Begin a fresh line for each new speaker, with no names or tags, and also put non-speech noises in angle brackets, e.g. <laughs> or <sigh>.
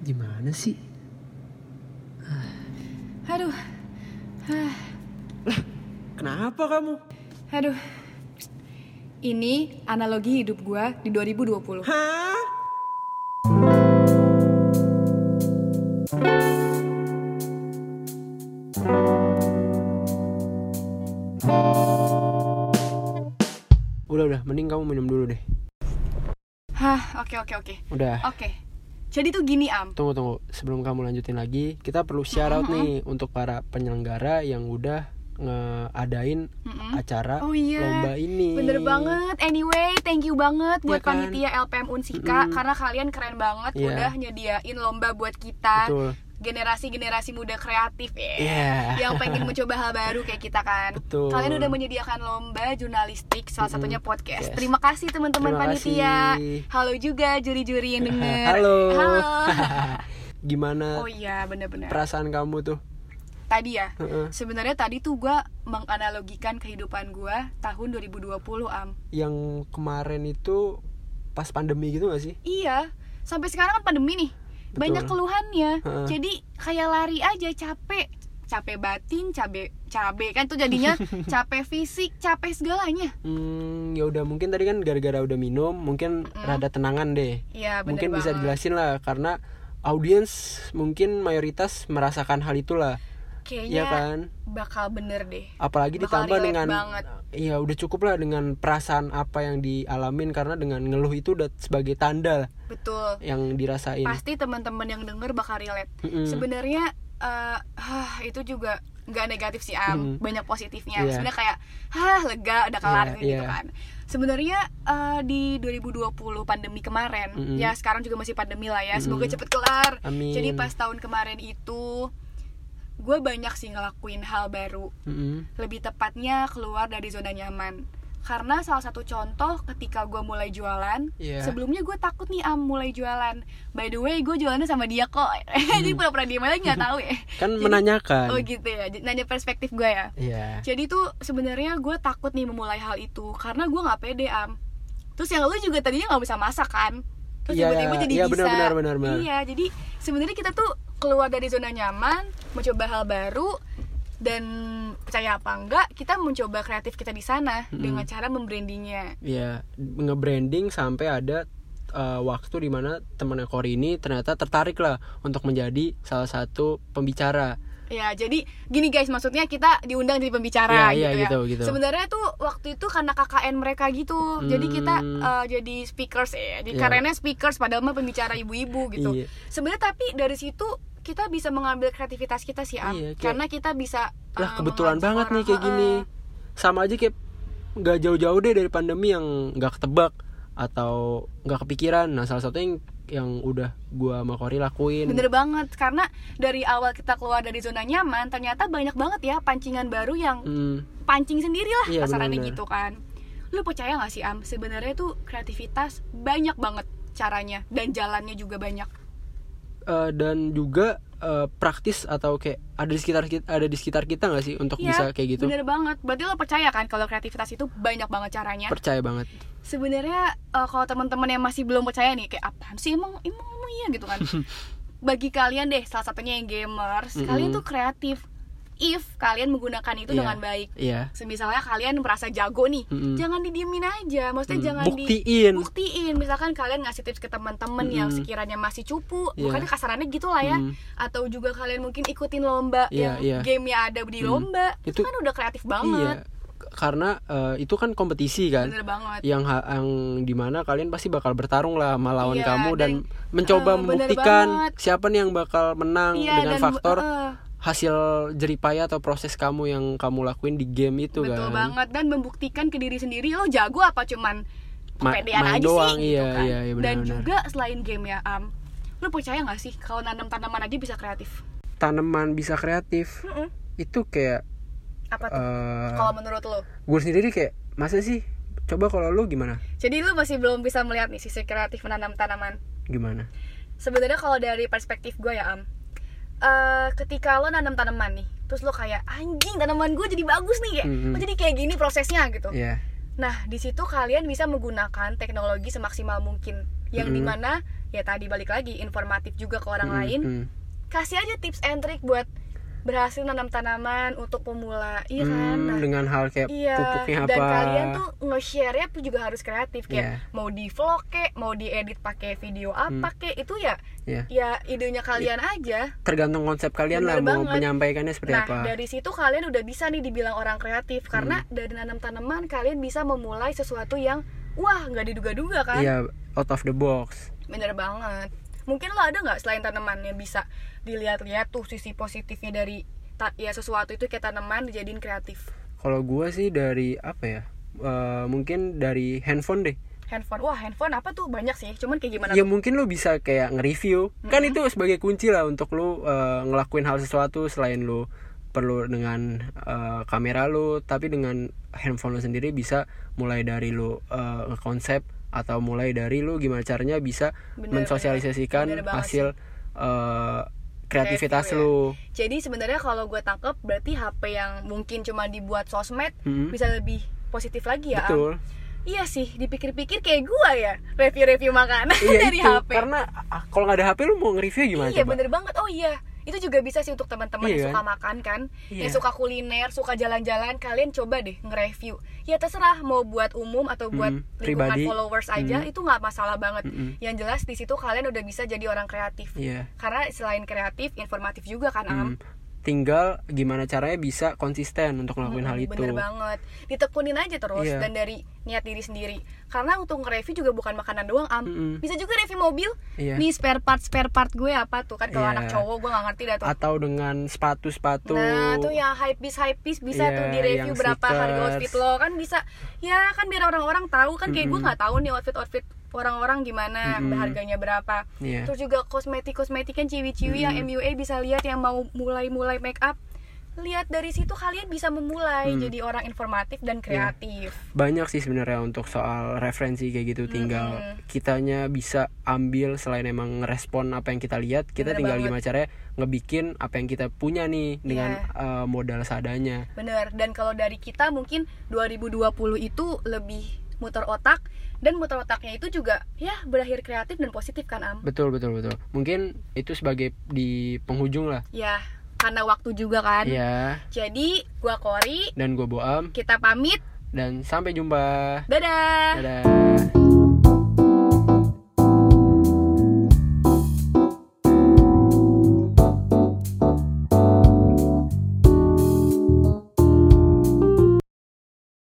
gimana sih?
Aduh. Hah.
Kenapa kamu?
Aduh. Ini analogi hidup gua di 2020.
Hah? Udah udah, mending kamu minum dulu deh.
Hah, oke oke oke.
Udah.
Oke. Jadi tuh gini, Am.
Tunggu tunggu, sebelum kamu lanjutin lagi, kita perlu shout out nih untuk para penyelenggara yang udah ngeadain acara
Oh iya.
lomba ini.
Bener banget. Anyway, thank you banget buat
Iya kan?
panitia LPM Unsika karena kalian keren banget
Iya.
udah nyediain lomba buat kita
Betul.
generasi-generasi muda kreatif ya.
Iya.
Yang
<laughs>
pengen mencoba hal baru kayak kita kan.
Betul.
Kalian udah menyediakan lomba jurnalistik salah satunya podcast.
Yes.
Terima kasih teman-teman
Terima
panitia.
kasih.
Halo juga juri-juri
<laughs>
yang denger.
Halo.
Halo.
<laughs> Gimana
oh iya, bener-bener.
perasaan kamu tuh?
Tadi ya.
Heeh.
Sebenarnya tadi tuh gua menganalogikan kehidupan gua tahun 2020 am.
Yang kemarin itu pas pandemi gitu gak sih?
Iya, sampai sekarang kan pandemi nih.
Betul.
Banyak keluhannya.
Heeh.
Jadi kayak lari aja capek, capek batin, cabe cabe kan tuh
<laughs>
jadinya capek fisik, capek segalanya.
Hmm, ya udah mungkin tadi kan gara-gara udah minum, mungkin rada tenangan deh.
Iya, bener
mungkin bisa
banget.
dijelasin lah karena audiens mungkin mayoritas merasakan hal itulah.
Kayaknya
Iya kan?
bakal bener deh.
apalagi
Bakal
ditambah
relate
dengan
banget.
iya udah cukup lah dengan perasaan apa yang dialamin karena dengan ngeluh itu udah sebagai tanda lah
Betul.
yang dirasain
Pasti teman-teman yang denger bakal relate.
Mm-mm.
Sebenarnya eh, hah, itu juga nggak negatif sih am,
Mm.
banyak positifnya.
Iya.
Sebenarnya kayak hah lega udah kelar
Iya,
gitu
iya.
kan. Sebenarnya eh, di 2020 pandemi kemarin,
Mm-mm.
ya sekarang juga masih pandemi lah ya. Semoga cepet kelar.
Hmm. Amin.
Jadi pas tahun kemarin itu gue banyak sih ngelakuin hal baru
Mm-mm.
lebih tepatnya keluar dari zona nyaman karena salah satu contoh ketika gue mulai jualan
Iya.
sebelumnya gue takut nih am mulai jualan by the way gue jualannya sama dia kok <laughs> jadi pura-pura diem aja nggak tahu ya
Hmm. kan
Jadi-
menanyakan
oh gitu ya Jadi, nanya perspektif gue ya
Iya.
jadi tuh sebenarnya gue takut nih memulai hal itu karena gue nggak pede am terus yang lu juga tadinya nggak bisa masak kan terus
Iya,
tiba-tiba jadi
iya,
bisa
benar, benar, benar, benar.
iya jadi sebenarnya kita tuh keluar dari zona nyaman mencoba hal baru dan percaya apa enggak kita mencoba kreatif kita di sana
Hmm.
dengan cara membrandingnya
Iya, nge-branding sampai ada eh, waktu di mana temannya Kori ini ternyata tertarik lah untuk menjadi salah satu pembicara.
Ya, jadi gini guys, maksudnya kita diundang jadi pembicara
Iya, iya,
gitu ya.
gitu, gitu.
Sebenarnya tuh waktu itu karena KKN mereka gitu. Jadi kita
Hmm.
eh, jadi speakers ya. Jadi
Iya.
karenanya speakers padahal mah pembicara ibu-ibu gitu.
Iya.
Sebenarnya tapi dari situ kita bisa mengambil kreativitas kita sih, Am.
Iya, kayak-
karena kita bisa eh,
Lah kebetulan
mengajak
banget nih
orang,
kayak
eh,
gini. Sama aja kayak nggak jauh-jauh deh dari pandemi yang nggak ketebak atau nggak kepikiran. Nah salah satu yang yang udah gua sama Kori lakuin.
Bener banget karena dari awal kita keluar dari zona nyaman, ternyata banyak banget ya pancingan baru yang
Hmm,
pancing sendirilah
Iya,
kasarannya
benar-benar.
gitu kan lu percaya gak sih am sebenarnya tuh kreativitas banyak banget caranya dan jalannya juga banyak
eh, dan juga eh, praktis atau kayak ada di sekitar kita ada di sekitar kita nggak sih untuk
Iya,
bisa kayak gitu?
bener banget berarti lo percaya kan kalau kreativitas itu banyak banget caranya
Percaya banget.
sebenarnya eh, kalau teman-teman yang masih belum percaya nih kayak apaan sih emang emang emang iya gitu
<laughs>
kan bagi kalian deh salah satunya yang gamers
Mm-mm.
kalian tuh kreatif if kalian menggunakan itu
Iya.
dengan baik
Iya.
Misalnya kalian merasa jago nih,
Mm-mm.
jangan didiemin aja. Maksudnya
Mm,
jangan
buktiin.
di buktiin. Misalkan kalian ngasih tips ke teman-teman yang
Mm-mm.
sekiranya masih cupu,
Iya.
bukannya kasarannya gitu lah ya.
Mm.
Atau juga kalian mungkin ikutin lomba
Iya, iya.
yang game yang ada di
Mm.
lomba.
Itu-
Itu, kan udah kreatif
Iya.
banget.
K- Karena eh, itu kan kompetisi kan.
Bener banget.
yang ha- yang dimana kalian pasti bakal bertarung lah sama lawan
Iya,
kamu dan
dan-
mencoba
eh, bener
membuktikan
banget.
siapa nih yang bakal menang
Iya,
dengan
dan-
faktor
eh,
hasil jeripaya atau proses kamu yang kamu lakuin di game itu
betul
kan
banget dan membuktikan ke diri sendiri lo jago apa cuman
Ma-
kepedean
main
aja
doang,
sih
iya,
gitu kan.
iya, iya,
dan
benar-benar.
juga selain game ya, Am. Lo percaya gak sih kalau nanam tanaman aja bisa kreatif?
tanaman bisa kreatif
Mm-mm.
itu kayak
Apa tuh?
eh,
kalau menurut lo?
gue sendiri kayak masa sih coba kalau lu gimana
Jadi lu masih belum bisa melihat nih sisi kreatif menanam tanaman.
gimana
Sebenarnya kalau dari perspektif gue ya Am, eh, ketika lo nanam tanaman nih, terus lo kayak anjing tanaman gue jadi bagus nih ya,
Mm-mm.
lo jadi kayak gini prosesnya gitu.
ya
Nah, di situ kalian bisa menggunakan teknologi semaksimal mungkin. Yang
Mm-mm.
dimana ya tadi balik lagi informatif juga ke orang
Mm,
lain.
mm.
Kasih aja tips and trick buat berhasil nanam tanaman untuk pemula, iya kan?
Hmm,
Nah,
dengan hal kayak
Iya,
pupuknya apa
dan kalian tuh nge-share-nya tuh juga harus kreatif
Iya.
kayak mau di vlog kek, mau diedit pakai video apa
Hmm.
kek, itu ya
Iya.
ya idenya kalian aja.
tergantung konsep kalian lah mau
Bener banget.
menyampaikannya seperti
Nah,
apa Hmm.
dari situ kalian udah bisa nih dibilang orang kreatif karena dari nanam tanaman kalian bisa memulai sesuatu yang wah, nggak diduga-duga kan?
iya out of the box
Bener banget. Mungkin lo ada nggak selain tanaman yang bisa dilihat-lihat tuh sisi positifnya dari ta- ya sesuatu itu kayak tanaman dijadiin kreatif.
kalau gua sih dari apa ya Eh, mungkin dari handphone deh
Handphone, wah handphone apa tuh banyak sih, cuman kayak gimana
ya mungkin lu bisa kayak nge-review kan itu sebagai kunci lah untuk lu eh, ngelakuin hal sesuatu selain lu perlu dengan eh, kamera lu tapi dengan handphone lu sendiri bisa mulai dari lu eh, konsep atau mulai dari lu gimana caranya bisa
Bener,
mensosialisasikan
bener. Bener banget
hasil eh, kreativitas
Kreatif ya.
lu
Jadi sebenarnya kalau gue tangkep berarti HP yang mungkin cuma dibuat sosmed
Mm-mm.
bisa lebih positif lagi ya. Am?
Hmm. betul
Iya sih, dipikir-pikir kayak gue ya review-review makanan
iya
<laughs> dari
itu
HP.
karena ah, kalau nggak ada HP lu mau nge-review gimana
iya
coba
bener banget. Oh iya, itu juga bisa sih untuk teman-teman
Iya
yang
kan?
suka makan kan,
Iya.
yang suka kuliner, suka jalan-jalan. Kalian coba deh nge-review. Ya terserah mau buat umum atau buat
Mm,
lingkungan
pribadi.
followers aja
Mm.
itu nggak masalah banget.
Mm-mm.
Yang jelas di situ kalian udah bisa jadi orang kreatif.
iya
Karena selain kreatif, informatif juga kan Am.
Hmm. tinggal gimana caranya bisa konsisten untuk ngelakuin hal
Mm-mm,
itu
Bener banget. Ditekunin aja terus
Iya.
dan dari niat diri sendiri. Karena untuk nge-review juga bukan makanan doang, Am.
Mm-mm.
Bisa juga review mobil.
Iya.
Nih spare part spare part gue apa tuh kan kalau
Iya.
anak cowok gue gak ngerti dah tuh.
atau dengan sepatu-sepatu
Nah, tuh yang hype piece hype piece bisa
Iya,
tuh di-review
yang
berapa harga
sneakers.
outfit lo kan bisa. Ya, kan biar orang-orang tahu kan kayak gue nggak tahu nih outfit-outfit orang-orang gimana
Mm-mm.
harganya berapa.
Iya.
Terus juga kosmetik-kosmetik kan ciwi-ciwi yang MUA bisa lihat yang mau mulai-mulai make up. Lihat dari situ kalian bisa memulai jadi orang informatif dan kreatif.
banyak sih sebenarnya untuk soal referensi kayak gitu tinggal kitanya bisa ambil selain emang ngerespon apa yang kita lihat kita
Bener
tinggal
banget.
gimana caranya ngebikin apa yang kita punya nih dengan
Iya.
eh, modal seadanya
Bener. Dan kalau dari kita mungkin 2020 itu lebih muter otak dan muter otaknya itu juga ya berakhir kreatif dan positif kan Am.
betul betul betul mungkin itu sebagai di penghujung lah
Ya, karena waktu juga kan.
ya
Jadi, gua Kori,
dan gue boam
kita pamit.
dan sampai jumpa
Dadah.
dadah